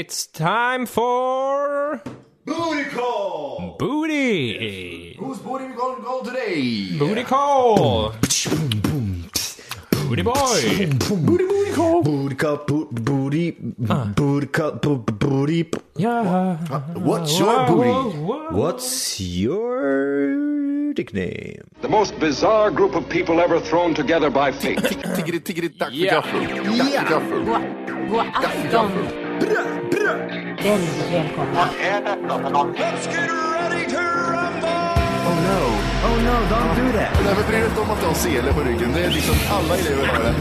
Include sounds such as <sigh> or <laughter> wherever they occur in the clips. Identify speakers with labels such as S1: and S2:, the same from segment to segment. S1: It's time for
S2: Booty call.
S1: booty.
S2: Who's booty we going to go today?
S1: Booty call. Booty boy.
S2: Booty booty call. Booty cup booty booty cup booty.
S1: Ah. Yeah.
S2: What's your booty?
S1: Whoa.
S3: What's your nickname?
S4: The most bizarre group of people ever thrown together by fate.
S5: Tiggeri, tiggeri, tack för
S1: Yeah.
S5: gaffel. Tack för gaffel.
S3: Oh no, oh no, don't do that.
S5: Nej, men bry dig inte om att du har sele på ryggen. Det är liksom alla elever har det.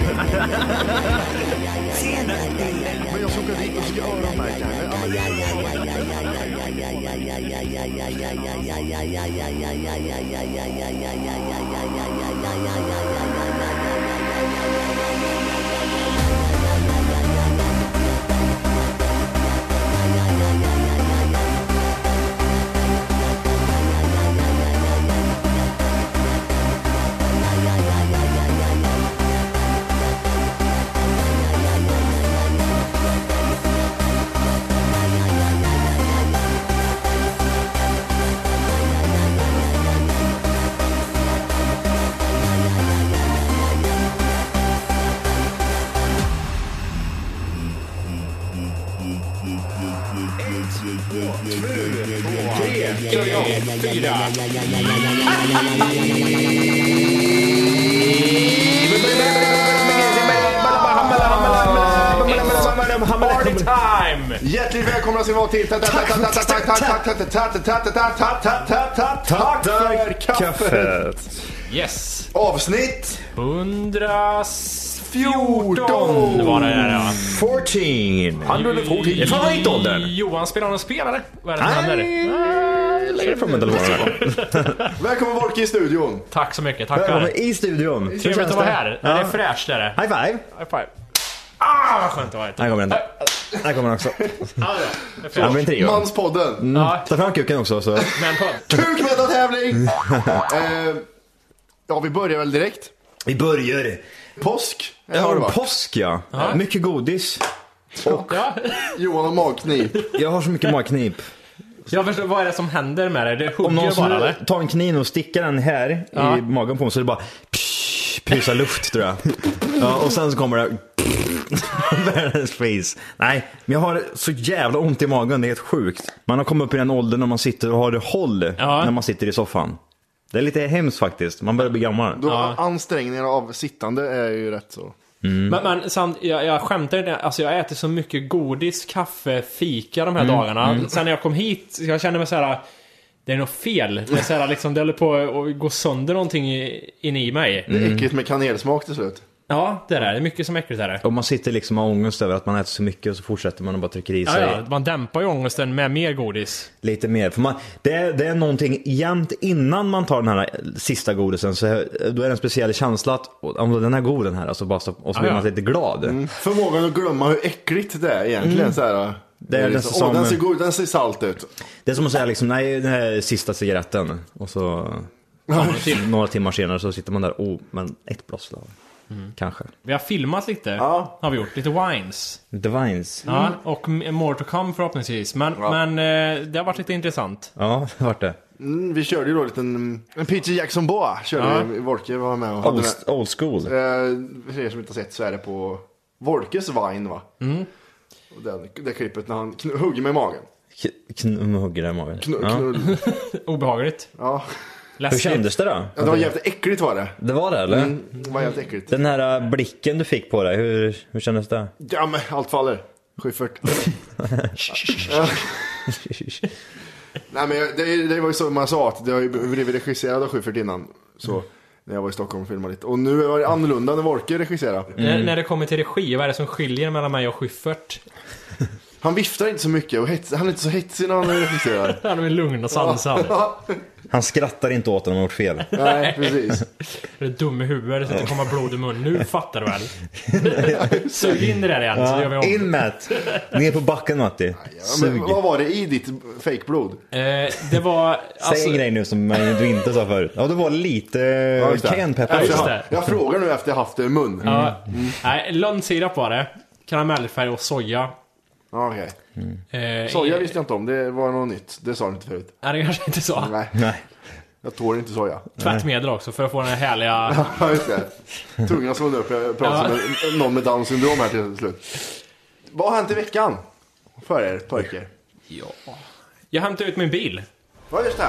S5: Men jag ska åka dit och ska öronmärka henne. Ja, men det är bra.
S1: Party time.
S5: Hjärtligt välkomna ska ni vara till Tack för kaffet!
S1: Yes.
S5: Avsnitt
S1: 114 var det där ja.
S3: 14!
S5: 114.
S3: Det är fan inte åldern!
S1: Johan spelar någon spelare. Vad är det som händer?
S3: Nej, lägger det från mig den morgonen.
S5: Välkommen Volke i studion.
S1: Tack så mycket. Tackar.
S3: Välkommen i studion. Hur
S1: Trevligt
S3: känns
S1: att vara
S3: det?
S1: här.
S3: Ja.
S1: Det är fräscht är det.
S3: High five!
S1: High five. Ah, vad skönt det var.
S3: Här kommer den där. Här kommer den också. Det blir en trio.
S5: Manspodden.
S1: Ja,
S3: Ta fram kuken också så.
S1: men på.
S3: <laughs>
S5: Kukmätartävling! Eh, Ja, vi börjar väl direkt.
S3: Vi börjar.
S5: Påsk
S3: Det
S5: har det
S3: har
S5: varit.
S3: påsk ja. Mycket godis.
S5: Johan har magknip.
S3: Jag har så mycket magknip.
S1: Jag förstår, vad är det som händer med det? Det
S3: Om någon
S1: hugger bara
S3: skulle
S1: eller?
S3: ta en kniv och sticka den här
S1: Ja.
S3: i magen på mig så är det bara pysa luft tror jag. Ja, och sen så kommer det <laughs> världens face. Nej, men jag har så jävla ont i magen, det är helt sjukt. Man har kommit upp i den åldern när man sitter och har håll
S1: Ja.
S3: när man sitter i soffan. Det är lite hemskt faktiskt, man börjar bli gammal.
S5: Då Ansträngningarna av sittande är ju rätt så.
S3: Mm.
S1: Men, men samt, jag, jag skämtar inte. Alltså jag äter så mycket godis, kaffe, fika de här
S3: Mm.
S1: dagarna. Sen när jag kom hit, jag kände mig så här. Det är något fel. Det, är så här, liksom, det håller på att gå sönder någonting i- in i mig.
S3: Mm.
S5: Det är äckligt med kanelsmak till slut.
S1: Ja, det där. Det är mycket som är äckligt är det.
S3: Om man sitter liksom och har ångest över att man äter så mycket och så fortsätter man och bara trycker i
S1: Ja,
S3: sig
S1: ja, man dämpar ju ångesten med mer godis.
S3: lite mer. För man, det, är, det är någonting jämt innan man tar den här sista godisen, så är- då är det en speciell känsla att om den är god den här, alltså bara, så-
S5: Ah,
S3: och så blir
S1: Ja, ja.
S3: man lite glad.
S5: Mm. Förmågan att glömma hur äckligt det är egentligen. Så här,
S3: Mm. Det är
S5: liksom,
S3: nästan
S5: "Åh, den
S3: som-
S5: ser god ut, den ser salt ut.
S3: Det är som att säga liksom, nej, den här är sista cigaretten. Och så
S5: Typ.
S3: några timmar senare så sitter man där, oh, men ett bloss då.
S5: Mm.
S3: Kanske.
S1: Vi har filmat lite.
S5: Ja.
S1: Har vi gjort. Lite wines.
S3: Divines.
S1: Ja, och m- more to come förhoppningsvis. Men, men eh, det har varit lite intressant.
S3: Ja, <laughs> det vart det.
S5: Mm, vi körde ju då en liten, en Peter Jackson Boa körde vi, Wolke var med och hade
S3: Old,
S5: den
S3: old school.
S5: här. Eh, För er som inte har sett så är det på Volkeswein va? Och Den, det klippet när han kn- hugger mig i magen.
S3: K- kn- hugger där i magen.
S5: Kn-
S3: ja.
S5: knull.
S1: Obehagligt.
S5: Ja.
S3: Hur
S1: Läskigt.
S3: kändes det då?
S5: ja, det var jävligt äckligt var det.
S3: Det var det eller?
S5: Mm, Det var jävligt äckligt.
S3: Den här äh, blicken du fick på dig, hur, hur kändes
S5: <laughs>
S3: det?
S5: Ja men allt faller. Schyffert. Nej men jag- det, det var ju som man sa att det har ju blivit regisserad av Schyffert innan. Så när jag var i Stockholm och filmade lite. Och nu var det annorlunda när Wolke regisserade.
S3: Mm.
S1: När, när det kommer till regi, vad är det som skiljer mellan mig och Schyffert?
S5: Han viftar inte så mycket och hets, han är inte så hetsig när
S1: <laughs>
S5: han regisserar.
S1: Han är väl lugn och sansad.
S3: Han skrattar inte åt när de har gjort fel.
S5: Nej precis.
S1: Det är dum i huvudet så att det kommer blod i munnen. Nu fattar du väl? Sug in det där igen så gör vi om.
S3: In Matt! Ner på backen Matti.
S5: Ja, men,
S3: Sug.
S5: vad var det i ditt fejkblod?
S1: Eh, det var...
S3: Säg
S1: Alltså,
S3: en grej nu som du inte sa förut. Ja, det var lite ja,
S5: just det.
S3: cayenne
S5: Ja,
S3: pepper.
S5: just
S1: just
S5: det.
S1: det.
S5: Jag frågar nu efter jag haft det i mun. Ja.
S1: ja, nej, lönnsirap var det. Karamellfärg och soja.
S5: okej.
S1: Eh,
S5: Soja visste jag inte om, det var något nytt. Det sa du inte förut.
S1: Nej, det kanske inte så.
S5: Nej,
S3: Nej.
S5: jag tål
S1: <laughs>
S5: inte soja.
S1: Tvättmedel också för att få den här härliga...
S5: Ja, just det. Tungan svullnade upp. Jag pratade
S1: Ja.
S5: med någon med Downs syndrom här till slut. Vad har hänt i veckan? För er pojkar.
S1: Jag hämtade ut min bil.
S5: Ja, just det.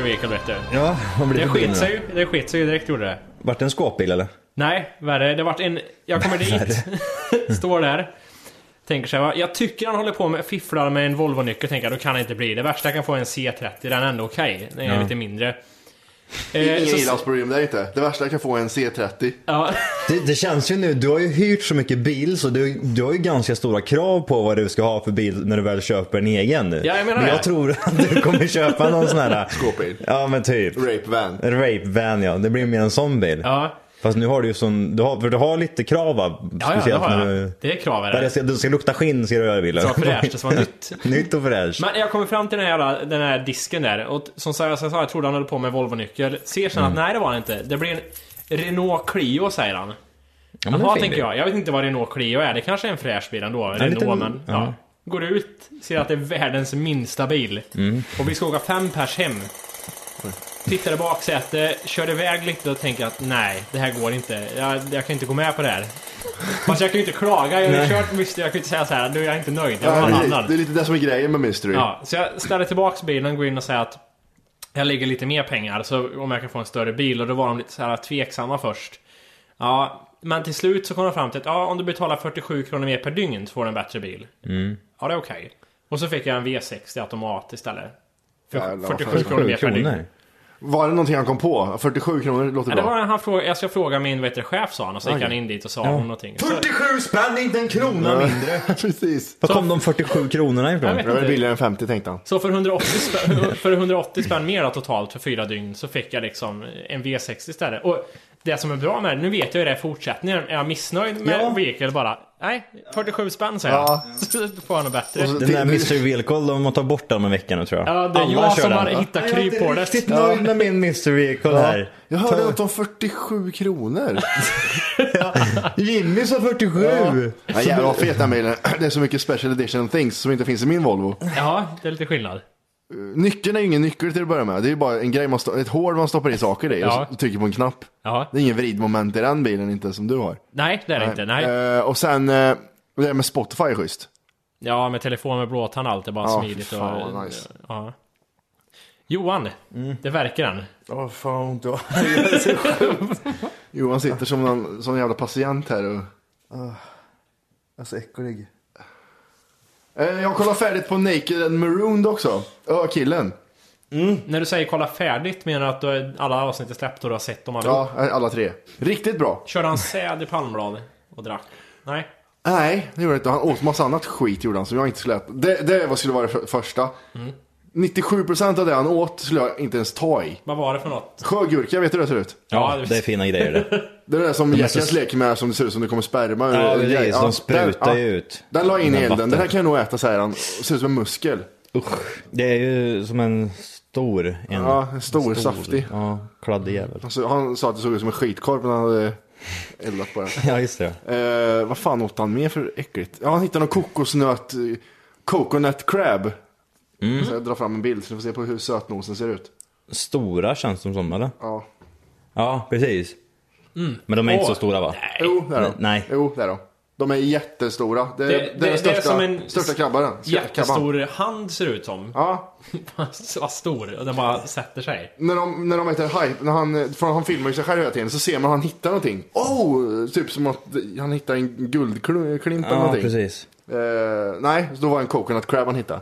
S1: Mr Vehicle vet du.
S3: Ja, vad blir
S1: Det
S3: det för bil
S1: skit sig
S3: nu?
S1: ju. Det skit sig ju direkt gjorde det.
S3: Vart det en skåpbil eller?
S1: Nej, värre. Det vart en... Jag kommer dit. <laughs> Står där. Tänker så här, va? Jag tycker han håller på med fifflar med en Volvo-nyckel. Tänker jag, då kan det inte bli. Det värsta jag kan få är en C30. Den är ändå okej. Den är
S3: Ja.
S1: lite mindre. Eh,
S5: Inga
S1: så,
S5: ilandsproblem där inte. Det värsta jag kan få är en C30.
S1: ja,
S3: Det, det känns ju nu, du har ju hyrt så mycket bil så du, du har ju ganska stora krav på vad du ska ha för bil när du väl köper en egen nu.
S1: Ja, jag menar
S3: Men jag
S1: det.
S3: tror att du kommer köpa någon sån här...
S5: Skåpbil.
S3: Ja men typ.
S5: Rape van.
S1: Eh,
S3: Rape van ja, det blir mer en sån bil.
S1: ja.
S3: Fast nu har du ju sån, du har, för du har lite krav va?
S1: Ja, ja, det
S3: Speciellt
S1: har
S3: när
S1: jag.
S3: du,
S1: Det är kravet.
S3: där det
S1: Det
S3: ska, du ska lukta skinn ska du göra i bilen.
S1: ska vara fräscht, det ska vara nytt.
S3: <laughs> Nytt och fräscht.
S1: Men jag kommer fram till den här, jävla- den här disken där och t- som sa- jag sa, jag trodde han höll på med Volvo-nyckel. Ser sen
S3: Mm.
S1: att nej det var han inte. Det blir en Renault Clio säger han.
S3: Ja, men det är
S1: Jaha
S3: fin
S1: tänker
S3: bil.
S1: jag. Jag vet inte vad Renault Clio är. Det kanske är en fräsch bil ändå. Renault
S3: liten-
S1: men ja.
S3: ja.
S1: Går ut, ser att det är världens minsta bil. Och vi ska åka fem pers hem. Tittar i baksätet, kör iväg lite och tänker att nej, det här går inte. Jag, jag kan inte gå med på det här. Fast jag kan ju inte klaga. Jag har ju kört mycket. Jag kan ju inte säga så här, nu är jag inte nöjd. Jag
S5: Ja,
S1: vill ha en
S5: det, är,
S1: annan.
S5: lite- det är lite det som är grejen med Mystery.
S1: Ja, så jag ställer tillbaks bilen, går in och säger att jag lägger lite mer pengar så om jag kan få en större bil. Och då var de lite så här tveksamma först. Ja, men till slut så kom de fram till att ja, om du betalar 47 kronor mer per dygn så får du en bättre bil. Ja, det är okej. Och så fick jag en V60 automat istället. För
S5: Jävlar, vad
S1: 47
S5: fan.
S1: kronor mer per dygn.
S3: kronor.
S5: Var det någonting han kom på? 47 kronor låter
S1: Ja, det
S5: bra.
S1: var han fråga, jag ska fråga min vet du, chef sa han och så gick han in dit och sa hon någonting. Så,
S3: 47 spänn, inte en krona mindre.
S5: <laughs> Precis.
S3: Var kom de 47 kronorna
S1: jag
S3: ifrån?
S1: vet
S5: Det var
S1: inte.
S5: billigare än 50 tänkte han.
S1: Så för 180 spänn, för 180 spänn mer då, totalt för fyra dygn så fick jag liksom en V60 istället. Och det som är bra med det, nu vet jag ju det i fortsättningen. Är jag missnöjd med
S3: Ja.
S1: Vehicle bara? Nej, 47 spänn säger
S5: Ja.
S1: jag. <laughs> Så får jag något bättre.
S5: Och så-
S3: Den där Mr. Vehicle, de måste ta bort den om en vecka nu tror jag.
S1: Ja, det är
S3: Alla
S1: jag
S3: kör
S1: som
S3: den.
S1: har
S3: Ja.
S1: hittat
S3: Jag är inte
S1: kryphålet.
S3: riktigt nöjd med <laughs> min Mr. Vehicle här.
S5: Jag hörde
S3: Ta-
S5: något om 47 <laughs> kronor.
S3: Jimmy sa 47!
S5: Ja, jävlar vad fet den bilen är. Det är så mycket special edition things som inte finns i min Volvo.
S1: Ja, det är lite skillnad.
S5: Nyckeln är ju ingen nyckel till att börja med. Det är ju bara en grej man sto- ett hål man stoppar i saker i
S1: Ja.
S5: och så trycker på en knapp.
S1: Ja.
S5: Det är ingen vridmoment i den bilen inte som du har.
S1: Nej, det är det inte. Nej.
S5: Eh, och sen, eh, det där med Spotify är schysst.
S1: Ja, med telefon med blåtand allt är bara
S5: Ja,
S1: smidigt
S5: fy fan, vad
S1: och...
S5: nice. Mm.
S1: Ja. Johan, det verkar den.
S5: Åh oh, fan ont Johan sitter som någon, som en jävla patient här och... Ah,
S2: Alltså äcklig.
S5: Eh, jag kollar färdigt på Naked and Marooned också. Ö, killen.
S1: När du säger kolla färdigt menar du att du har- alla avsnitt är släppt och du har sett dem allihop?
S5: Ja, eh, alla tre. Riktigt bra.
S1: Körde han säd i palmblad och drack? Nej.
S5: Nej, det gjorde han inte. Han åt massa annat skit gjorde han som jag inte skulle äta. Det, det var- skulle vara det för- första. 97% av det han åt skulle jag inte ens ta i.
S1: Vad var det för något?
S5: Sjögurka, vet du hur det ser ut?
S3: Ja,
S1: Ja,
S3: det är fina grejer det.
S5: Det är det som
S3: är
S5: Jackass
S3: så-
S5: leker med som det ser ut som det kommer sperma ur.
S3: Ja,
S5: eller-
S3: precis.
S5: ja,
S3: De sprutar
S5: den-
S3: ju
S5: ja.
S3: ut.
S5: Den la jag in i
S3: Den
S5: elden.
S3: vatten.
S5: Den här kan jag nog äta, säger han. Och Ser ut som en muskel.
S3: <laughs> Usch. Det är ju som en stor. En,
S5: Ja, en stor, saftig.
S3: Ja, kladdig jävel.
S5: Alltså, han sa att det såg ut som en skitkorv när han hade eldat på den.
S3: Ja, just det.
S5: Eh, vad fan åt han mer för äckligt? Ja, han hittade någon kokosnöt... eh, Coconut crab. Så jag drar fram en bild så ni får se på hur sötnosen ser ut.
S3: Stora känns de som eller?
S5: Ja.
S3: Ja, precis. Men de är inte
S1: Mm. Åh,
S3: så stora va?
S5: Jo, det är de.
S3: Nej.
S5: Jo, det är de. De är jättestora. Det är, det, är den största, största krabbaren.
S1: jättestor hand ser det ut som. <laughs>
S5: Ja,
S1: Vad stor. Och den bara sätter sig.
S5: när de, när de heter hype, när han, för han filmar ju sig själv hela tiden, så ser man han hittar någonting. Oh! Typ som att han hittar en guldklimp eller
S3: Ja,
S5: någonting.
S3: precis.
S5: Eh, nej, så då var det en coconut crab han hittade.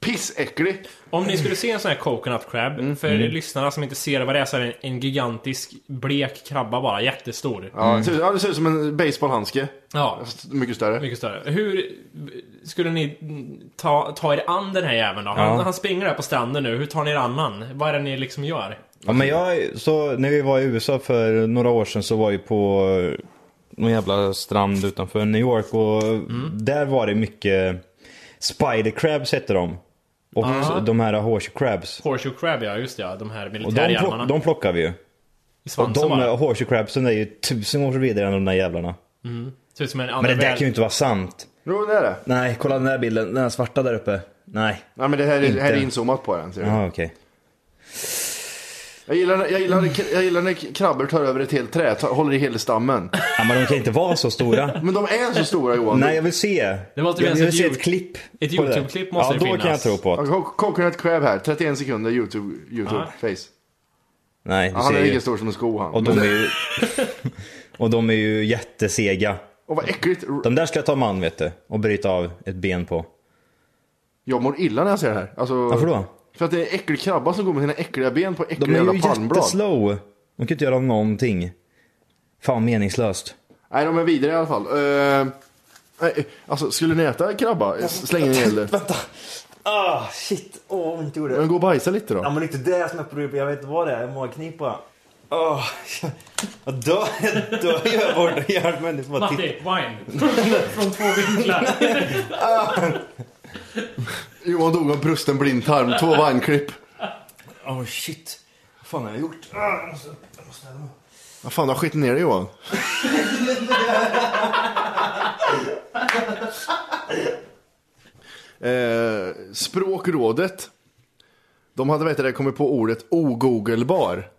S5: Pissäcklig!
S1: Om ni skulle se en sån här coconut crab,
S3: Mm.
S1: för lyssnarna som inte ser vad det är så är det en, en gigantisk blek krabba bara, jättestor.
S5: Ja, det ser ut- ja, det ser ut som en baseballhandske.
S1: Ja,
S5: Fast Mycket större.
S1: mycket större. Hur skulle ni ta, ta er an den här jäveln då? Han,
S3: Ja.
S1: han springer där på stranden nu, hur tar ni er an han? Vad är det ni liksom gör?
S3: Ja, men jag, så när vi var i USA för några år sedan så var jag på eh, någon jävla strand utanför New York och
S1: Mm.
S3: där var det mycket spider crabs hette de. Och de här horseshoe crabs.
S1: Horseshoe crab ja, just det, ja, de här
S3: Och de,
S1: militärhjälmarna.
S3: plock, de plockar vi ju.
S1: I
S3: Och
S1: svansen
S3: de
S1: bara.
S3: eh, horseshoe crabsen är ju tusen år vidare än de där jävlarna.
S1: Ser ut som en
S3: Men det där
S1: undervärld.
S3: kan ju inte vara sant.
S5: Jo, det är det.
S3: Nej, kolla den där bilden. Den här svarta där uppe. Nej.
S5: Nej, men det här, är- det här är
S3: Inte.
S5: inzoomat på den. Ser du.
S3: Ja, okej.
S5: Jag, gillar, jag, gillar, jag gillar när krabbor tar över ett helt träd, tar, håller i hela stammen.
S3: Ja, men de kan inte vara
S1: <laughs>
S3: så stora.
S5: Men de är så stora Johan.
S3: Nej, jag vill se.
S1: Det måste
S3: jag
S1: finnas
S3: jag vill
S1: ett
S3: se
S1: ljud-
S3: ett klipp.
S1: ett
S3: på det där.
S1: YouTube-klipp måste det
S3: Ja, då kan jag
S1: finnas.
S3: tro på
S5: Ja,
S3: att...
S5: co- Coconut crab här, 31 sekunder YouTube, YouTube face.
S3: Nej, du
S5: Ja, han är
S3: ser ju.
S5: lika stor som en sko han.
S3: Och de är
S5: <laughs>
S3: ju... och de är ju jättesega.
S5: Och vad äckligt.
S3: De där ska jag ta man, vet du. Och bryta av ett ben på.
S5: Jag mår illa när jag ser det här. Alltså,
S3: Varför då?
S5: För att det är en äcklig krabba som går med sina äckliga ben på äckliga
S3: De är
S5: jävla
S3: ju
S5: palmblad.
S3: jätteslow. De kan inte göra någonting. Fan meningslöst.
S5: Nej, de är vidare i alla fall. Eh, nej, alltså, skulle ni äta krabba? Släng in
S3: <laughs>
S5: ihjäl det.
S6: Vänta! Ah, shit. Åh, vad ont det gjorde.
S5: Men gå och bajsa lite då.
S6: Ja, men det är inte det som är problemet. Jag vet inte vad det är. Magknipa. Åh, Ah, <laughs> jag dör. Jag dör ju av vård och hjälp. Människor bara tittar.
S1: Matti, wine! <laughs> Från två vinklar.
S5: Johan dog av brusten blindtarm, två vagnklipp.
S6: Åh, Oh, shit. Vad fan har jag gjort? Ah, jag måste, jag måste ställa mig.
S5: Vad fan, du har skit ner
S6: <laughs>
S5: dig Johan. eh, språkrådet. De hade vet du, det, kommit på ordet ogooglebar.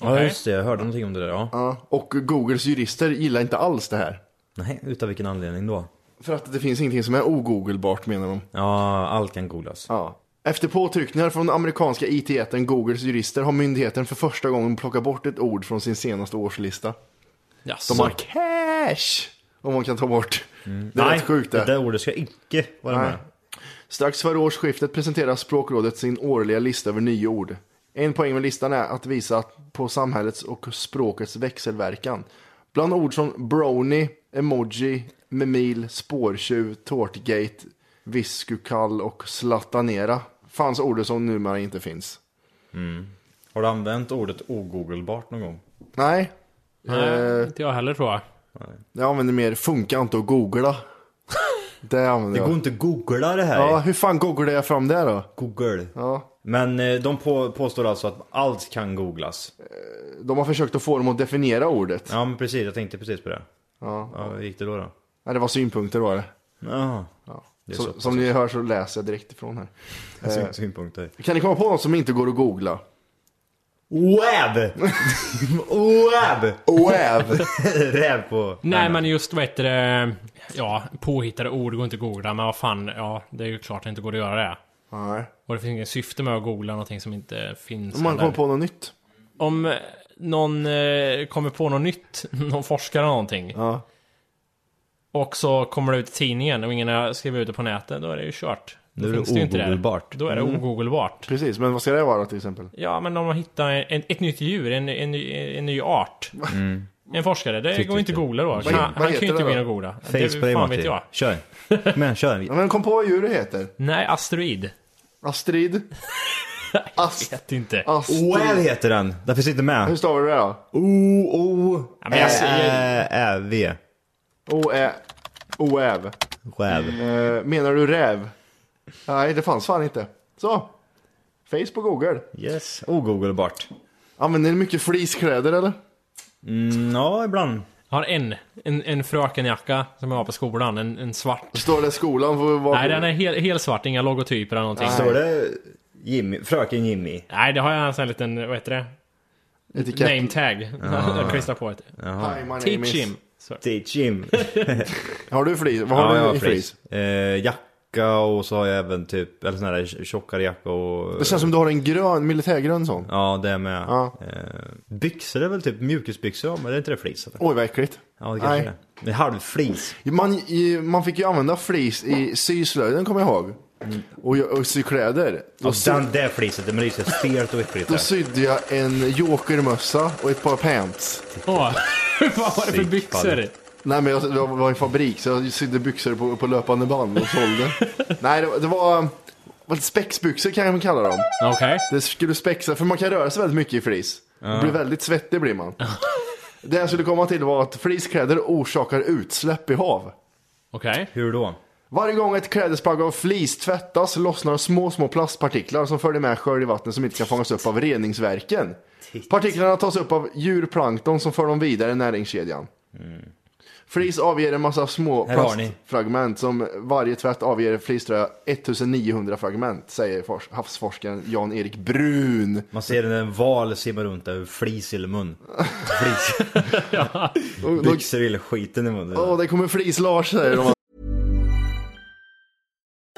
S3: Ja, just det. Jag hörde någonting om det där. Ja.
S5: Ja, Och Googles jurister gillar inte alls det här.
S3: Nej, utav vilken anledning då?
S5: För att det finns ingenting som är ogooglebart menar de.
S3: Ja, allt kan googlas.
S5: Ja. Efter påtryckningar från amerikanska IT-jätten Googles jurister har myndigheten för första gången plockat bort ett ord från sin senaste årslista.
S1: Jaså?
S5: De har cash! Om man kan ta bort. Det är
S3: Mm. Nej,
S5: rätt sjukt det.
S3: det där ordet ska icke vara
S5: Nej.
S3: med.
S5: Strax före årsskiftet presenterar Språkrådet sin årliga lista över nyord. En poäng med listan är att visa att- på samhällets och språkets växelverkan. Bland ord som brony, emoji, memil, spårtjuv, tårtgate, viskukall och slattanera fanns ord som numera inte finns.
S3: Har du använt ordet ogooglebart någon gång?
S5: Nej,
S1: Nej, inte jag heller tror jag.
S5: jag använder mer funka inte
S3: <laughs>
S5: och googla. Det använder
S3: Det går
S5: jag.
S3: inte att googla det här.
S5: Ja, hur fan googlar jag fram det då?
S3: Google.
S5: Ja.
S3: Men eh, de på, påstår alltså att allt kan googlas.
S5: De har försökt att få dem att definiera ordet.
S3: Ja men precis, jag tänkte precis på det. Ja. hur gick det då då?
S5: Nej, det var synpunkter var det.
S3: Ja, det är så,
S5: Så, som eh. ni hör så läser jag direkt ifrån här.
S3: syn- synpunkter.
S5: Kan ni komma på något som inte går att googla?
S3: Wab!
S5: <laughs>
S3: Wab!
S5: Oäv!
S3: Räv på...
S1: Nej men just vad heter det, ja påhittade ord går inte att googla men vad fan, ja det är ju klart det inte går att göra det.
S5: <laughs> Nej.
S1: Och det finns ingen syfte med att googla någonting som inte finns.
S5: Om man
S1: eller-
S5: kommer på något nytt.
S1: Om eh, någon eh, kommer på något nytt, <laughs> någon forskare eller någonting.
S5: Ja.
S1: Och så kommer det ut i tidningen och ingen har skrivit ut det på nätet, då är det ju kört. Då
S3: Nu är det
S1: finns ju inte där.
S3: ogooglebart.
S1: Då är det ogooglebart.
S5: Precis, men vad ska det vara till exempel?
S1: Ja men om man hittar en, ett nytt djur, en, en, ny- en ny art.
S5: Mm.
S1: En forskare, det går ju inte att googla då.
S5: he-
S1: han
S5: vad
S1: han kan
S5: heter
S1: ju inte
S5: det
S1: gå in
S5: då?
S1: och googla. Det,
S3: Facepray
S1: fan vet
S3: Matti.
S1: jag.
S3: Kör. Men kör.
S5: Ja, men kom på vad djuret heter.
S1: Nej, asteroid.
S3: <laughs>
S5: Astrid. Ast...
S1: Vet inte.
S3: Wab
S5: Astrid.
S3: heter den. Den finns inte
S5: Hur
S3: med.
S5: stavar du det då?
S1: Ja, men jag ser,
S3: O-O-Ä-V.
S5: Oä... Oäv.
S3: Wab.
S5: Eh, menar du räv? Nej, det fanns fan inte. Så. Face på Google.
S3: Yes. Ogooglebart.
S5: Använder ni mycket fleecekläder eller?
S3: Mm, ja, ibland.
S1: jag har en, en, en frökenjacka som jag har på skolan, en, en svart.
S5: Står det skolan får vara...
S1: Nej, den är hel, helt svart, inga logotyper eller någonting.
S3: Står det Jimmy, fröken Jimmy?
S1: Nej, det har jag en sån här liten, vad heter det?
S5: Etikett.
S1: Name tag. <laughs> Jag klistrar på ett.
S5: Hi, my name
S1: Teach
S5: is...
S1: him.
S3: Alltid Jim.
S5: Har du flis? <laughs> Vad har du i flis?
S3: Eh, jacka och så har jag även typ, eller sån här tjockare jacka och...
S5: Det känns som du har en grön, militärgrön sån.
S3: Ja, det med.
S5: Ja.
S3: Eh, byxor är väl typ mjukisbyxor, men det är inte det flis? Eller?
S5: Oj vad äckligt.
S3: Ja, det kanske det är. Det är halvflis.
S5: Man, i, man fick ju använda flis i syslöjden kommer jag ihåg. Och, jag, och sy kläder. Då,
S3: Och
S5: sy,
S3: Mm. den där fliset, men det är så stelt och äckligt.
S5: då
S3: där.
S5: sydde jag en jokermössa och ett par pants.
S1: Åh, <laughs> vad var det för byxor?
S5: Nej men jag, jag var i fabrik så jag sydde byxor på, på löpande band
S3: <laughs>
S5: och sålde. Nej det, det var, var det spexbyxor kan man kalla dem.
S1: Okej.
S5: Det skulle spexa, för man kan röra sig väldigt mycket i flis. Det blir väldigt svettig blir man. Det jag skulle komma till var att fliskläder orsakar utsläpp i hav.
S1: Okej.
S3: Hur då?
S5: Varje gång ett klädesplagg av flis tvättas lossnar små, små plastpartiklar som följer med skölj i vattnet som inte kan fångas upp av reningsverken. Partiklarna tas upp av djurplankton som för dem vidare i näringskedjan. Flis avger en massa små
S3: Här har ni.
S5: plastfragment som varje tvätt avger fliströja 1900 fragment, säger fors- havsforskaren Jan-Erik Brun.
S3: Man ser en val simma runt där, flis i
S5: <laughs>
S3: mun. Flis. Byxor i skiten i munnen.
S5: Åh, det kommer flis-Lars
S3: <laughs>
S5: säger de.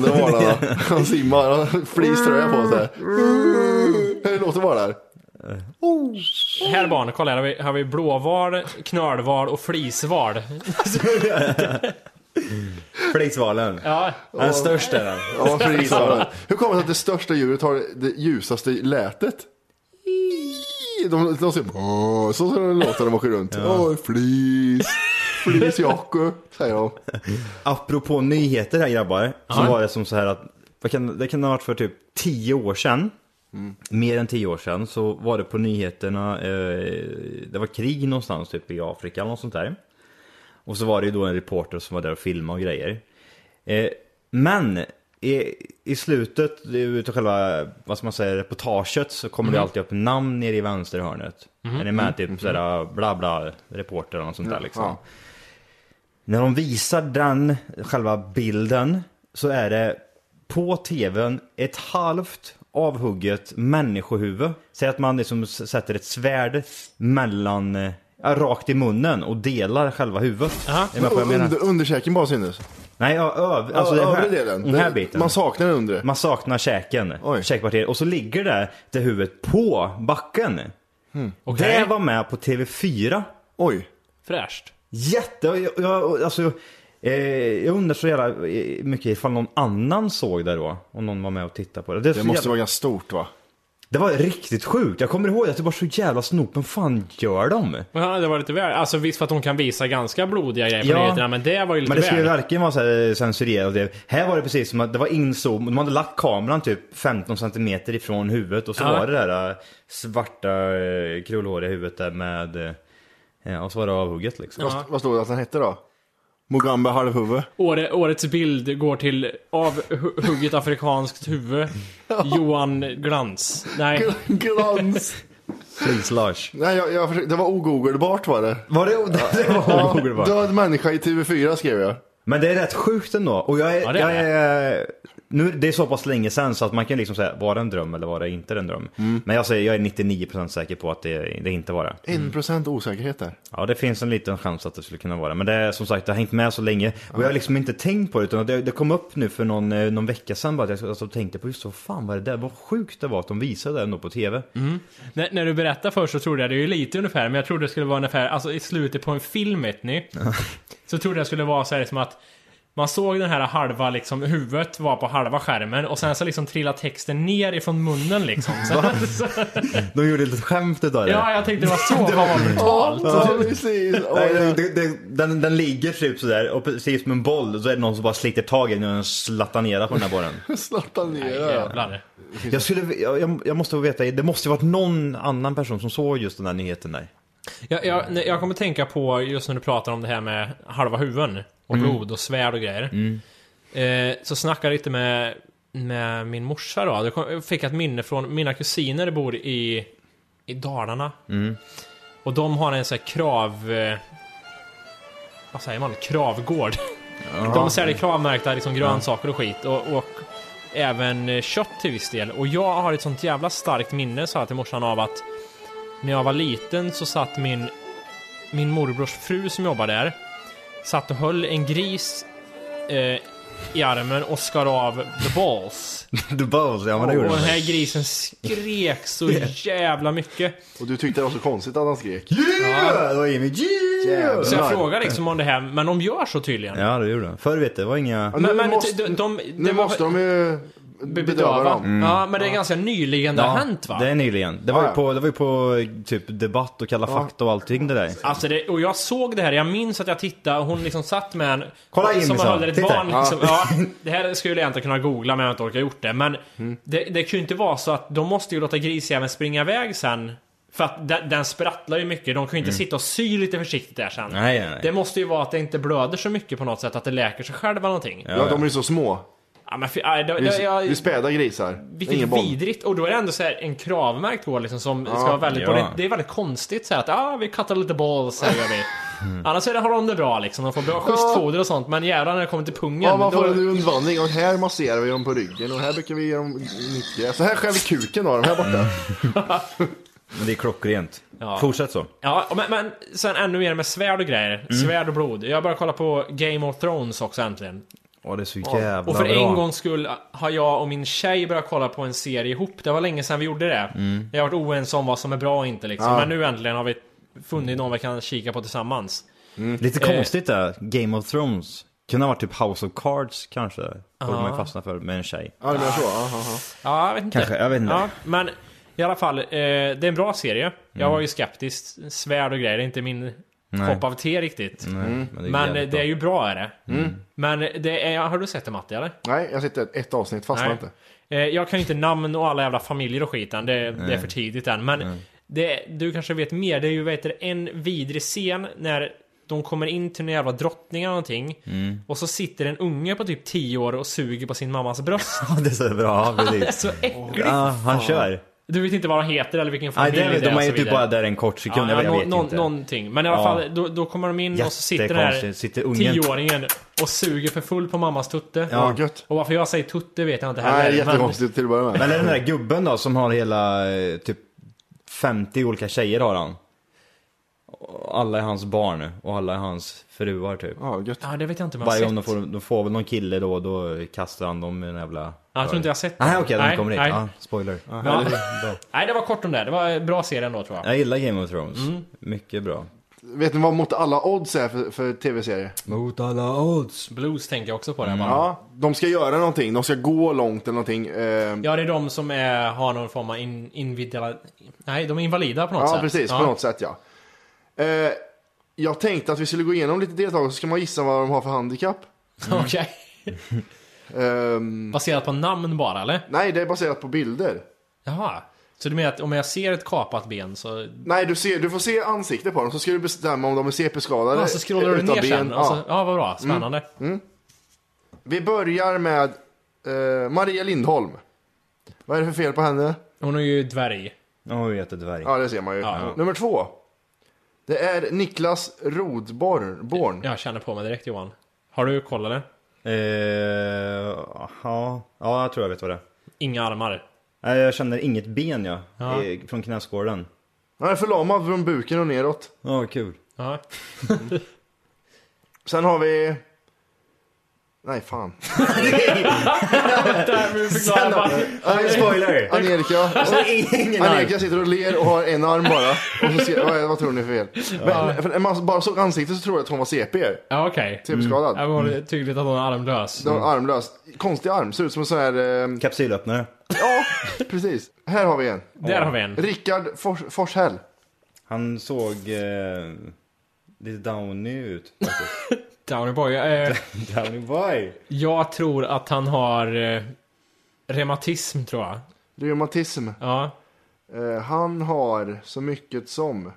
S5: Det var det. va? Han simmar, han har fleecetröja på sig. Hur låter det vara där?
S1: Här barn, kolla här har vi, här har vi blåval, knölval och flisval.
S3: Flisvalen.
S1: Ja,
S3: Den största är den.
S5: Ja, frisören. Hur kommer det sig att det största djuret har det ljusaste lätet? De, de ser "Åh", så som de låter när de åker runt. Åh, flis, flis Jaco, säger de.
S3: Apropå nyheter här grabbar, så var det som så här att, vad kan, det kan ha varit för typ 10 år sedan, mer än 10 år sedan, så var det på nyheterna, eh, det var krig någonstans typ i Afrika eller något sånt där. Och så var det ju då en reporter som var där och filmade och grejer. Eh, men i, i slutet utav själva, vad ska man säga, reportaget så kommer det alltid upp namn nere i vänsterhörnet. Är ni med? Typ sådär bla bla reporter eller något sånt där liksom.
S5: Ja.
S3: När de visar den själva bilden så är det på tvn ett halvt avhugget människohuvud. Säg att man liksom s- sätter ett svärd mellan, eh, ja, rakt i munnen och delar själva huvudet. Är ni med på vad jag menar?
S5: Under, underkäken bara syns.
S3: Nej, ja, öv, alltså den här,
S5: Övre delen.
S3: Den här
S5: Det-
S3: biten.
S5: Man saknar den undre.
S3: Man saknar käken,
S5: Oj.
S3: käkpartiet. Och så ligger det, det huvudet på backen.
S1: okej.
S3: Det var med på TV4.
S5: Oj.
S1: Fräscht.
S3: Jätte, jag, jag, alltså, eh, jag undrar så jävla eh, mycket ifall någon annan såg det då. Om någon var med och tittade på det. Det, är så
S5: Det måste
S3: jävla,
S5: vara ganska stort va?
S3: det var riktigt sjukt. Jag kommer ihåg att det var så jävla snopen. fan gör de?
S1: Ja, det var lite väl. Alltså visst för att de kan visa ganska blodiga grejer på
S3: Ja.
S1: nyheterna, men det var ju lite
S3: Men det skulle
S1: väl.
S3: ju verkligen vara så här censurerat. och Det. Här var det precis som att det var inzoom. De hade lagt kameran typ 15 centimeter ifrån huvudet och så
S1: Ja.
S3: var det där eh, svarta eh, krullhåriga huvudet där med... eh, Ja, och så var det avhugget liksom.
S5: Vad, vad stod det att den hette då? Mugambe halvhuvud.
S3: <laughs>
S1: Åre, årets bild går till avhugget afrikanskt
S3: <laughs>
S1: huvud. Johan Glans. Nej.
S5: Glans.
S3: Please Lars.
S5: Nej, jag, jag försökte, det var ogooglebart var det.
S3: Var det, det var avhugget va?
S5: Död människa i TV4 skrev jag.
S3: Men det är rätt sjukt ändå. Och jag är,
S1: Ja, det är
S3: jag är Nu, det är så pass länge sedan så att man kan liksom säga, var det en dröm eller var det inte en dröm?
S1: Mm.
S3: Men jag säger, jag är 99% säker på att det, det inte var det.
S5: 1% osäkerhet där.
S3: Ja, det finns en liten chans att det skulle kunna vara det. Men det är som sagt, det har hängt med så länge. Och jag har liksom inte tänkt på det, utan det, det kom upp nu för någon, eh, någon vecka sedan bara. Att jag alltså, tänkte på just så, fan vad det där, vad sjukt det var att de visade det ändå på TV.
S1: När, när du berättar först så trodde jag det är ju lite ungefär, men jag trodde det skulle vara ungefär, alltså i slutet på en film vet
S3: <laughs>
S1: ni. så trodde jag skulle vara så här som att man såg den här halva liksom, huvudet var på halva skärmen och sen så liksom trillade texten ner ifrån munnen liksom. Sen, <laughs> så,
S3: De gjorde ett litet skämt utav det.
S1: ja, jag tänkte det var
S3: <laughs>
S1: så, fan vad brutalt.
S5: Ja, Alltså, precis. Oj,
S3: Nej,
S5: ja.
S3: det- det, det, den, den ligger typ sådär och precis som en boll så är det någon som bara sliter tag i den och den slattar ner på den här <laughs> bollen.
S5: Zlatan ner. ja.
S1: Jävlar.
S3: Jag, skulle, jag, jag- jag måste veta, det måste ju varit någon annan person som såg just den där nyheten där.
S1: Jag, jag, nej, jag kommer tänka på just när du pratar om det här med halva huvuden och blod och svärd och grejer. Eh, så snackade jag lite med, med min morsa då. Jag kom- Jag fick ett minne från mina kusiner bor i, i Dalarna. Och de har en sån här krav... Eh, vad säger man? Kravgård. De säljer kravmärkta liksom, grönsaker och skit. Och, och även eh, kött till viss del. Och jag har ett sånt jävla starkt minne, sa jag till morsan, av att när jag var liten så satt min, min morbrors fru som jobbade där, satt och höll en gris eh, i armen och skar av the balls.
S3: Du bara, så, ja men det gjorde
S1: Och den
S3: den.
S1: här grisen skrek så jävla mycket.
S5: Och du tyckte det var så konstigt att han skrek.
S3: Ja, det var Jimmy. Yeah!
S1: Så jag frågade liksom om det här, men de gör så tydligen.
S3: Ja, det gjorde den. Förr vet du, det var inga...
S5: nu
S1: Men, men
S5: måste-
S1: de, de, det
S5: Nu måste de ju bedöva dem.
S1: Ja, men det är ganska nyligen det har hänt va?
S3: Det är nyligen. Det var ju
S5: Ja.
S3: på, det var ju på typ debatt och Kalla fakta och allting det där.
S1: Alltså det, och jag såg det här, jag minns att jag tittade och hon liksom satt med en...
S3: Kolla in,
S1: Som
S3: sa
S1: höll
S3: hon.
S1: ett
S3: Titta.
S1: barn liksom. ja. Det här skulle jag inte kunna googla men jag har inte orkat gjort det. Men det, det kan ju inte vara så att de måste ju låta grisjäveln springa iväg sen. För att den, den sprattlar ju mycket, de kan ju inte sitta och sy lite försiktigt där sen.
S3: Mm. Nej, nej, nej.
S1: Det måste ju vara att det inte blöder så mycket på något sätt, att det läker sig själv eller någonting. Ja.
S5: Ja, de är ju så små.
S1: men för, aj, det,
S5: Det
S1: det,
S5: är, ju- det är
S1: jag,
S5: späda grisar.
S1: vilket
S5: Ingen boll.
S1: vidrigt. Och då är det ändå så här en kravmärkt gård liksom som ska vara väldigt...
S3: ja.
S1: och Det, det är väldigt konstigt så här att ah, vi kattar lite balls här gör vi. Annars är det, har de det bra liksom, de får bra schysst foder och sånt. Men jävlar när det kommer till pungen.
S5: Ja, man får
S1: då-
S5: en rundvandring och här masserar vi dem på ryggen och här brukar vi ge dem nyttgräs. Så här skär vi kuken av dem här borta.
S3: Men det är klockrent.
S1: Ja.
S3: Fortsätt så.
S1: Ja, men, men sen ännu mer med svärd och grejer. Svärd och blod. Jag börjar kolla på Game of Thrones också äntligen.
S3: Åh, det är så jävla bra.
S1: och för en gångs skull har jag och min tjej börjat kolla på en serie ihop. Det var länge sedan vi gjorde det. Jag har varit oense om vad som är bra och inte liksom. Men nu äntligen har vi funnit någon vi kan kika på tillsammans.
S3: Lite
S1: eh,
S3: konstigt det, Game of Thrones. Kunde ha varit typ House of Cards kanske. Borde man ju fastna för med en tjej.
S5: Ja, det blir så. Aha, aha.
S1: Ja, jag vet inte.
S3: Kanske, jag vet inte.
S1: Ja, men i alla fall, eh, det är en bra serie.
S3: Mm.
S1: Jag var ju skeptisk. Svärd och grejer, det är inte min kopp av te riktigt.
S3: Men
S1: Men eh,
S3: Mm, jävligt
S1: det är
S3: bra. Mm.
S1: ju bra är det. Men det är, har du sett det Matti eller?
S5: Nej, jag sitter ett avsnitt, fastnar inte.
S1: Eh, Jag kan ju inte namn och alla jävla familjer och skit än. Det, det är för tidigt än. Men det, du kanske vet mer. Det är ju vet du, en vidrig scen när de kommer in till några jävla drottningar eller någonting.
S3: Mm.
S1: Och så sitter en unge på typ 10 år och suger på sin mammas
S3: <laughs>
S1: bröst.
S3: Ja, det är så bra,
S1: Det är <laughs>
S3: precis.
S1: så äckligt!
S3: Ja, han kör.
S1: Du vet inte vad han heter eller vilken
S3: Nej,
S1: familj
S3: det, de
S1: och
S3: är ju
S1: så
S3: typ
S1: vidare.
S3: bara där en kort sekund,
S1: Ja,
S3: jag,
S1: nå-
S3: vet
S1: nå-
S3: inte.
S1: Någonting. Men i alla
S3: Ja.
S1: fall, då, då kommer de in och så sitter den här
S3: Jättekonstigt. Sitter ungen-
S1: tioåringen och suger för full på mammas tutte.
S5: Ja, gött.
S1: Och varför jag säger tutte vet jag inte heller.
S5: Nej,
S1: men-
S5: jättekonstigt till att börja med.
S3: Men är det den där gubben då som har hela eh, typ 50 olika tjejer har han. Och Alla är hans barn och alla är hans fruar typ.
S5: Ja, gött.
S1: Ja, det vet jag inte om jag har
S3: Varje
S1: sett.
S3: gång de får, de får väl någon kille då, då kastar han dem i den jävla...
S1: Ja, jag tror inte jag har sett
S3: Nej
S1: den.
S3: okej, de
S1: Nej,
S3: kommer dit.
S1: nej.
S3: Ja, spoiler.
S1: Ja. Nej, det var kort om det. Det var en bra serie ändå tror jag.
S3: Jag gillar Game of Thrones.
S1: Mm.
S3: Mycket bra.
S5: Vet ni vad mot alla odds är för, för tv-serier?
S3: Mot alla odds.
S1: Blues tänker jag också på. Det,
S3: Mm.
S1: bara. Ja.
S5: Ja, de ska göra någonting. De ska gå långt eller någonting. Eh,
S1: det är de som är, har någon form av in, invidela, Nej, de är invalida på något sätt.
S5: Ja, precis. På något sätt, ja. Eh, jag tänkte att vi skulle gå igenom lite deltagare, så ska man gissa vad de har för handikapp.
S1: <laughs> Okej.
S5: Mm. <laughs> Ehm,
S1: Baserat på namn bara, eller?
S5: nej, det är baserat på bilder.
S1: Jaha. Så du menar att om jag ser ett kapat ben så...
S5: Nej, du, ser, du får se ansikte på dem, så ska du bestämma om de är CP-skadade.
S1: Ja, så scrollar du
S5: utan
S1: ner sen. alltså.
S5: ben.
S1: Och så,
S5: Ja.
S1: ja, vad
S3: Mm.
S1: bra. Spännande.
S5: Vi börjar med eh, Maria Lindholm. Vad är det för fel på henne?
S1: Hon är ju dvärg.
S3: Åh, oh, jättedvärg.
S5: Ja, det ser man ju. Nummer två. Det är Niklas Rodborn. Born.
S1: Jag känner på mig direkt Johan. Har du kollat det?
S3: Eh, ja, ja, jag tror jag vet vad det är.
S1: Inga armar?
S3: Nej, jag känner inget ben ja.
S1: Ja.
S3: Eh, Från knäskålen.
S5: Han är förlamad från buken och neråt.
S3: Ja, kul. <laughs>
S1: Ja.
S5: Sen har vi... Nej, fan.
S3: Sen då? Ja, det är spoiler!
S5: Angelica.
S3: Ingen arm.
S5: Angelica sitter och ler och har en arm bara. Och så ser, vad, vad tror ni är för fel? Men, för när man bara såg ansiktet så trodde jag att hon var CP.
S1: Ja, okej.
S5: CP-skadad.
S3: Mm.
S1: Det var tydligt att hon är armlös.
S5: Det var armlös. Konstig arm. Ser ut som en sån här... Eh,
S3: Kapsylöppnare.
S5: ja, precis. Här har vi en.
S1: Där har vi en.
S5: Rickard Fors, Forshäll.
S3: Han såg eh, lite downy ut. <laughs>
S1: Downy boy. Eh,
S3: downy boy!
S1: jag tror att han har eh, reumatism, tror jag.
S5: Reumatism.
S1: Ja.
S5: Eh, han har så mycket som...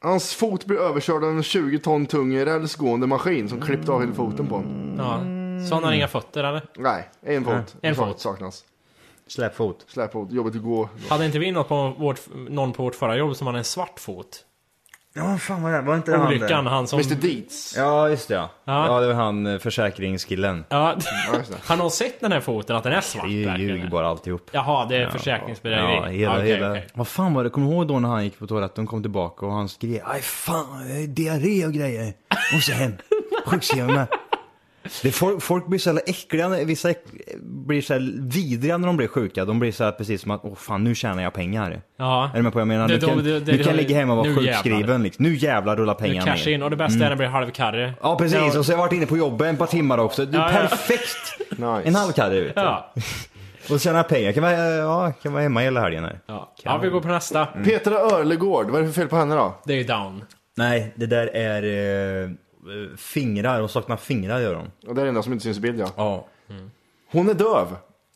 S5: Hans fot blir överkörd av en 20 ton tung rälsgående maskin som klippte av hela foten på honom.
S1: ja.
S3: Mm.
S1: Så han har inga fötter, eller?
S5: Nej, en fot.
S1: en
S5: Sak-
S1: fot.
S5: saknas.
S3: Släpfot.
S5: Släpfot, jobbigt att gå.
S1: Hade inte vi något på vårt, någon på vårt förra jobb som hade en svart fot?
S3: Ja, vad fan var det? Var inte det han
S1: Olyckan,
S3: där?
S1: han som...
S5: Mr Deeds.
S3: Ja, just det ja.
S1: Ja.
S3: ja. det var han eh, försäkringskillen.
S1: Ja.
S5: Ja, just det.
S1: Han <laughs> har sett den här foten, att den är svart
S3: Vi ljuger
S1: verkligen.
S3: bara alltihop.
S1: Jaha, det är
S3: Ja,
S1: försäkringsbedrägeri.
S3: hela,
S1: Okej,
S3: hela.
S1: okej.
S3: Vad fan var det? Kommer du ihåg då när han gick på toaletten och kom tillbaka och han skrek Aj fan, jag har diarré och grejer. Måste hem. Sjukskriva mig. Det är folk, folk blir så jävla äckliga, när- vissa äck, blir så här vidriga när de blir sjuka. De blir så här precis som att, åh fan nu tjänar jag pengar.
S1: Ja.
S3: Är du med på vad jag menar?
S1: Det-
S3: Du kan,
S1: det- det-
S3: du
S1: det-
S3: kan ligga hemma och vara
S1: nu jävlar.
S3: sjukskriven. Liksom. Nu jävlar rullar
S1: Nu
S3: pengarna
S1: cashar in och det bästa är när det blir halvkarre.
S3: Mm. Ja precis, och så har jag varit inne på jobbet ett par timmar också. Du,
S1: Ja, ja.
S3: perfekt!
S5: Nice.
S3: En halv karre vet du.
S1: Ja.
S3: Och tjäna pengar. Kan vara, ja, kan vara hemma hela helgen här.
S1: Ja. ja, vi går på nästa.
S3: Mm.
S5: Petra Örlegård, vad är det för fel på henne då?
S1: Det är ju down.
S3: Nej, det där är eh, eh, fingrar. Hon saknar fingrar gör hon.
S5: Ja, Det är det enda som inte syns i bild ja.
S3: Ja.
S1: <laughs>
S5: Hon är döv.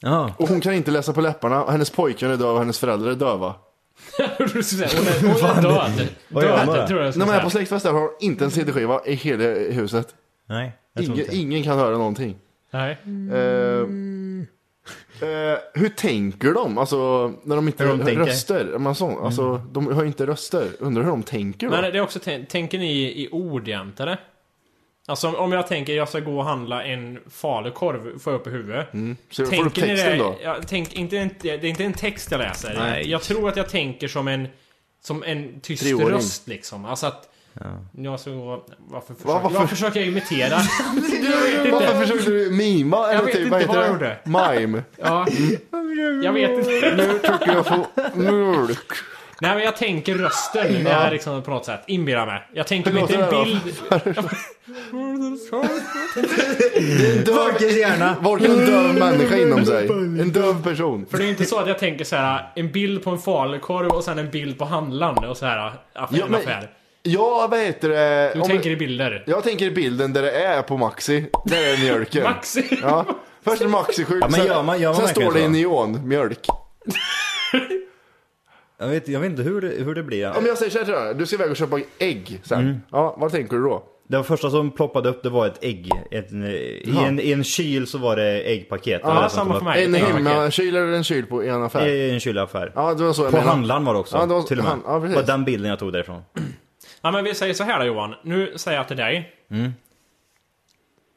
S3: Ja.
S5: Och hon kan inte läsa på läpparna. Hennes pojkvän är döv och hennes föräldrar är döva.
S1: Hon är, hon är död.
S3: Vad gör man
S1: Död,
S3: då?
S1: tror jag jag
S5: När
S1: skulle
S5: man är
S1: säga.
S5: på släktfest där har hon inte en CD-skiva i hela huset.
S3: Nej, jag tror
S5: Ingen,
S3: inte.
S5: ingen kan höra någonting.
S1: Nej.
S5: Eh, eh, hur tänker de? Alltså när de inte
S3: Hur de
S5: har
S3: tänker.
S5: röster. Man så,
S1: Mm.
S5: alltså, De har ju inte röster. Undrar hur de tänker då?
S1: Men det är också, tän- tänker ni i ord jämt eller? Alltså om- om jag tänker jag ska gå och handla en falukorv, får jag upp i huvudet.
S3: Mm.
S5: Så får du upp
S1: Tänker ni
S5: texten
S1: det?
S5: då?
S1: Jag, tänk, inte en, det är inte en text jag läser.
S3: Nej.
S1: Jag tror att jag tänker som en, som en tyst
S5: Treåring.
S1: röst liksom. Alltså att... Jag ska gå... Varför försöker,
S5: varför?
S1: varför försöker jag
S5: <laughs>
S1: imitera?
S5: Varför försökte du mima? Eller
S1: vet
S5: typ,
S1: inte
S5: vad heter
S1: vad jag
S5: det?
S1: gjorde.
S5: Mime.
S1: ja. Jag vet inte.
S5: Mm. Nu tycker jag får mjölk.
S1: Nej men jag tänker rösten när jag liksom på något sätt inbillar mig. Jag tänker
S5: Hur
S1: mig inte en
S5: låter det då?
S1: bild...
S3: Folkets
S1: <laughs>
S3: hjärna!
S5: Varken en döv människa inom sig. En döv person.
S1: För <laughs> det är inte så att jag tänker så här en bild på en falukorv och sen en bild på handlaren och så här affär,
S5: Ja, men-
S1: affär.
S5: Jag vet det.
S1: Du
S5: om-
S1: tänker i bilder.
S5: Jag tänker i bilden där det är på Maxi. Där är mjölken.
S1: Maxi!
S5: Ja. Först är Maxi sjuk.
S3: Ja, men
S5: sen-
S3: gör man- gör man
S5: sen
S3: verkligen
S5: står det i
S3: så?
S5: neon, mjölk.
S3: Jag vet, jag vet inte hur det, hur det blir.
S5: Om jag säger så här till dig, du ska iväg och köpa ägg sen.
S3: Mm.
S5: Ja, vad tänker du då?
S3: Det första som ploppade upp det var ett ägg. Ett, i, en, I en kyl så var det äggpaket. Det var
S1: Ja,
S3: det som
S1: samma
S3: kom
S1: för
S3: upp.
S1: mig.
S5: En
S1: Ja.
S5: hemmakyl eller en kyl på en affär?
S3: I en kylaffär.
S5: Ja, det var så jag
S3: På
S5: menade.
S3: handlaren var det också.
S5: Ja, det var-
S3: till och med.
S5: han- ja, precis.
S3: det var den bilden jag tog därifrån.
S1: Ja men vi säger så här då Johan. Nu säger jag till dig.
S3: Mm.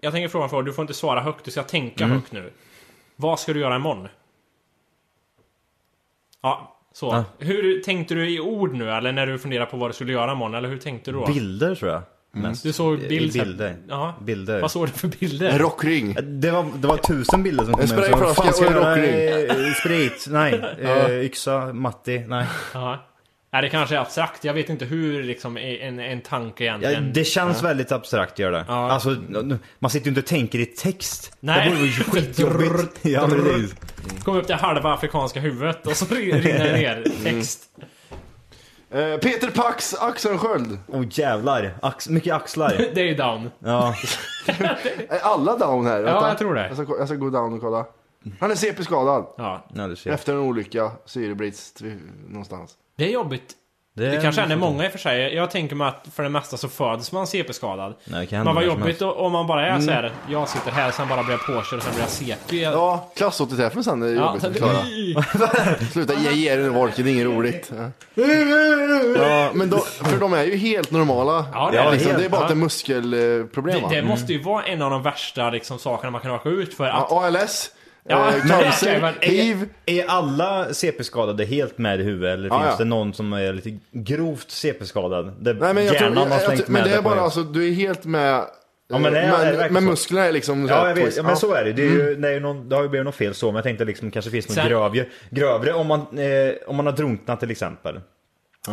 S1: Jag tänker fråga för du får inte svara högt, du ska tänka
S3: Mm.
S1: högt nu. Vad ska du göra imorgon? Ja, så.
S3: Ja.
S1: Hur tänkte du i ord nu eller när du funderar på vad du skulle göra imorgon? Eller hur tänkte du då?
S3: Bilder tror jag. Mest.
S1: Mm. Du såg
S3: I- i
S1: bild-
S3: eh, bilder.
S1: Ja.
S3: bilder. Eh,
S1: Vad såg du för bilder?
S5: En rockring.
S3: Det var, det var tusen bilder som kom
S5: En
S3: in, så vad
S5: sprayflaska
S3: fan ska
S5: och en
S3: jag göra?
S5: rockring.
S3: Eh, Sprit,
S5: <laughs>
S3: nej. Eh, Yxa, Matti, nej.
S1: Ja. Nej, det kanske är abstrakt. Jag vet inte hur liksom en, en tanke
S3: Ja,
S1: egentligen...
S3: det känns väldigt abstrakt gör det. Alltså, n- man sitter ju inte och tänker i text.
S1: Nej.
S3: Det vore ju
S1: <laughs>
S3: skitjobbigt. ja, precis.
S1: Kom upp till halva afrikanska huvudet och så
S3: <laughs>
S1: rinner det ner text.
S5: Eh, Peter Pax Axensköld.
S3: Åh jävlar, Ax mycket
S1: <laughs>
S3: axlar.
S1: Det är ju down.
S3: Ja.
S5: Är alla down här? Ja,
S1: jag tror det.
S5: Jag ska, jag ska gå down och kolla. Han är CP-skadad.
S1: Ja.
S3: ja, du ser.
S5: Efter en olyckt syrebrist vi- någonstans.
S1: Det är jobbigt Det,
S3: Det-
S1: kanske är det många i och för sig. Jag tänker mig att för det mesta så föds man CP-skadad.
S3: Nej, det kan hända
S1: Men vad
S3: när som
S1: jobbigt
S3: helst.
S1: då, om man bara är
S5: Mm.
S1: så här. Jag sitter här, sen bara blir jag påkörd, sen blir jag CP.
S5: Ja, klassåterträffen sen är
S1: Ja,
S5: jobbigt
S1: sen-
S5: att klara. Sluta ge ge dig nu Volker, det är inget roligt. Ja, men de, för de är ju helt normala.
S1: Ja, det är
S5: liksom,
S1: helt-
S5: det är bara att det är
S1: ja. <laughs>
S5: muskelproblem
S1: Det,
S5: va?
S1: det måste ju vara en av de värsta liksom, sakerna man kan råka ut för. Att,
S5: Ja, ALS,
S1: Ja,
S5: eh,
S1: men-
S5: cancer,
S1: men-
S5: hiv.
S3: Är alla CP-skadade helt med i huvudet eller
S5: Ja,
S3: finns
S5: ja.
S3: det någon som är lite grovt CP-skadad? Där
S5: Nej men jag tror,
S3: hjärnan
S5: jag,
S3: har
S5: jag,
S3: slängt
S5: men
S3: med
S5: det är bara
S3: på
S5: alltså, du är helt med.
S3: Ja, men det är- det verkar
S5: men
S3: så.
S5: musklerna är liksom
S3: Ja,
S5: här
S3: jag vet.
S5: twist. Mm.
S3: Ja, men så är det. Det, är ju, det, är ju någon, det har ju blivit något fel så, men jag tänkte liksom kanske finns något
S1: Sen-
S3: grövre, grövre om, man, eh, om man har drunknat till exempel.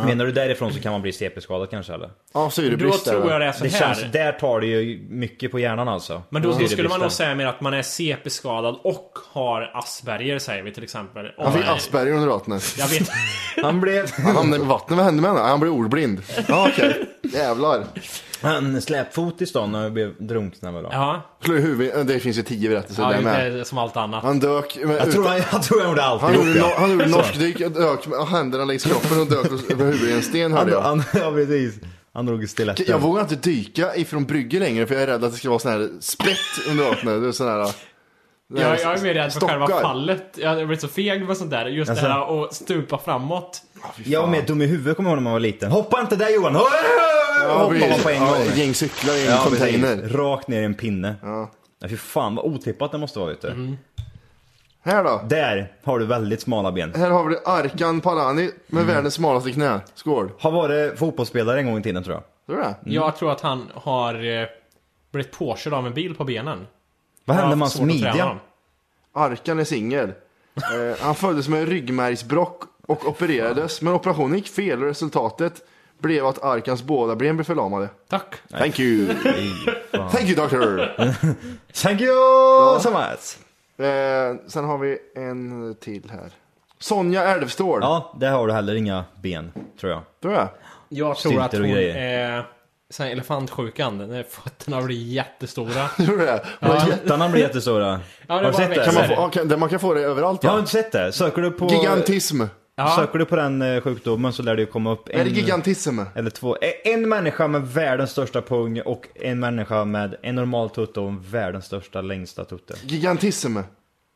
S3: Menar du därifrån så kan man bli CP-skadad kanske eller?
S5: Ja,
S1: då
S5: syrebrist är
S1: tror jag det är så
S3: Det
S1: här.
S3: känns, där tar det ju mycket på hjärnan alltså.
S1: Men då, då skulle man
S3: Syrebristen.
S1: nog säga mer att man är CP-skadad och har Asperger säger vi till exempel. Om
S5: Han fick
S1: man-
S5: Asperger under vattnet.
S1: Jag vet
S3: Han blev...
S5: Han hamnade i vattnet, vad hände med honom? Han blev ordblind. Ja, okej. Jävlar.
S3: Han släpfot i stan och blev drunknad väl då?
S1: Ja,
S5: <laughs> Slå i huvudet. Det finns ju tio berättelser
S1: ja
S5: där
S1: det
S5: med.
S1: är som allt annat.
S5: Han dök. men
S3: Jag tror
S5: utan-
S3: han, jag tror han gjorde
S5: han
S3: alltihop
S5: gjorde, no- han gjorde
S3: Så.
S5: norskdyk, och dök med händerna längs kroppen och dök över huvudet i en sten hörde
S3: Han,
S5: jag.
S3: han, ja, precis. Han drog i stiletten.
S5: Jag vågar inte dyka ifrån brygger längre för jag är rädd att det ska vara sån här spett under vattnet. Det är sån här, eh,
S1: Jag, jag är mer rädd för själva
S5: Stockar.
S1: fallet. Jag har blivit så feg med sånt där. Just
S3: Alltså.
S1: det här att stupa framåt.
S3: Jag var mer dum i huvudet kommer jag ihåg när man var liten. Hoppa inte där Johan! Hoppar man på en gång.
S5: Ja, ett gäng cyklar i en
S3: Ja,
S5: container.
S3: precis. Rakt ner i en pinne.
S5: Ja.
S3: Ja, fy fan vad otippat det måste vara ute.
S5: Här då.
S3: Där har du väldigt smala ben.
S5: Här har vi det, Arkan Palani med
S3: Mm.
S5: världens smalaste knä. Skål.
S3: Har varit fotbollsspelare en gång i tiden tror jag.
S5: Tror du det?
S3: Mm.
S1: Jag tror att han har eh, blivit påkörd av en bil på benen.
S3: Vad
S1: Jag har
S3: hände
S1: haft
S3: med hans
S1: svårt att träna
S3: midja?
S1: dem.
S5: Arkan är singel. Eh, han föddes med en ryggmärgsbråck och opererades, men operationen gick fel och resultatet blev att Arkans båda ben blev förlamade.
S1: Tack.
S5: Thank you! Thank you doctor!
S3: Thank you so much!
S5: Eh, sen har vi en till här. Sonja Älvstål.
S3: Ja, där har du heller inga ben tror jag.
S5: Tror jag.
S1: Jag tror
S3: Sylter
S1: att
S3: och
S1: hon
S3: grejer.
S1: är sån här elefantsjukan. När fötterna blir jättestora. <laughs>
S5: Tror du det? Man,
S3: Tuttarna blir jättestora.
S1: Ja, det
S3: har du
S1: var
S3: sett det?
S1: växer.
S5: kan man, få, ja, kan, man kan få det överallt
S3: Jag har
S5: va?
S3: inte sett det. Söker du på...
S5: Gigantism.
S1: Ja.
S3: Söker du på den eh, sjukdomen så lär det ju komma upp en...
S5: Är det gigantism?
S3: Eller två. E- En människa med världens största pung och en människa med en normal tutte och en världens största längsta tutte.
S5: Gigantism.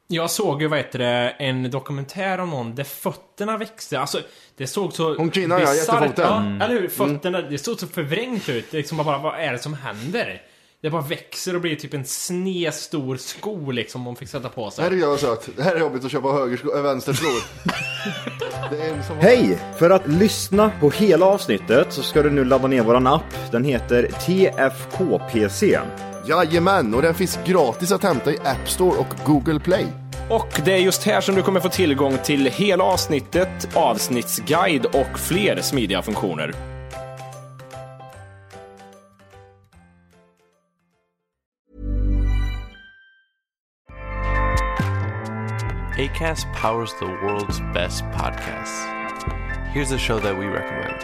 S1: Jag såg ju vad heter det, en dokumentär om någon där fötterna växte. Alltså det såg så...
S5: Hon kvinnan, ja,
S1: bisarrt-
S5: jättefoten. Mm.
S1: Ja,
S3: Mm.
S1: eller hur? Fötterna, det såg så förvrängt ut. Liksom bara, vad är det som händer? Det bara växer och blir typ en sned stor sko liksom hon fick sätta på sig.
S5: Här är jag sökt. Det här är jobbigt att köpa högerskor, äh, vänsterskor. det är en som
S3: Hej! För att lyssna på hela avsnittet så ska du nu ladda ner våran app. Den heter TFKPC.
S5: Jajamän, och den finns gratis att hämta i App Store och Google Play.
S7: Och det är just här som du kommer få tillgång till hela avsnittet, avsnittsguide och fler smidiga funktioner.
S8: ACAST powers the world's best podcasts. Here's a show that we recommend.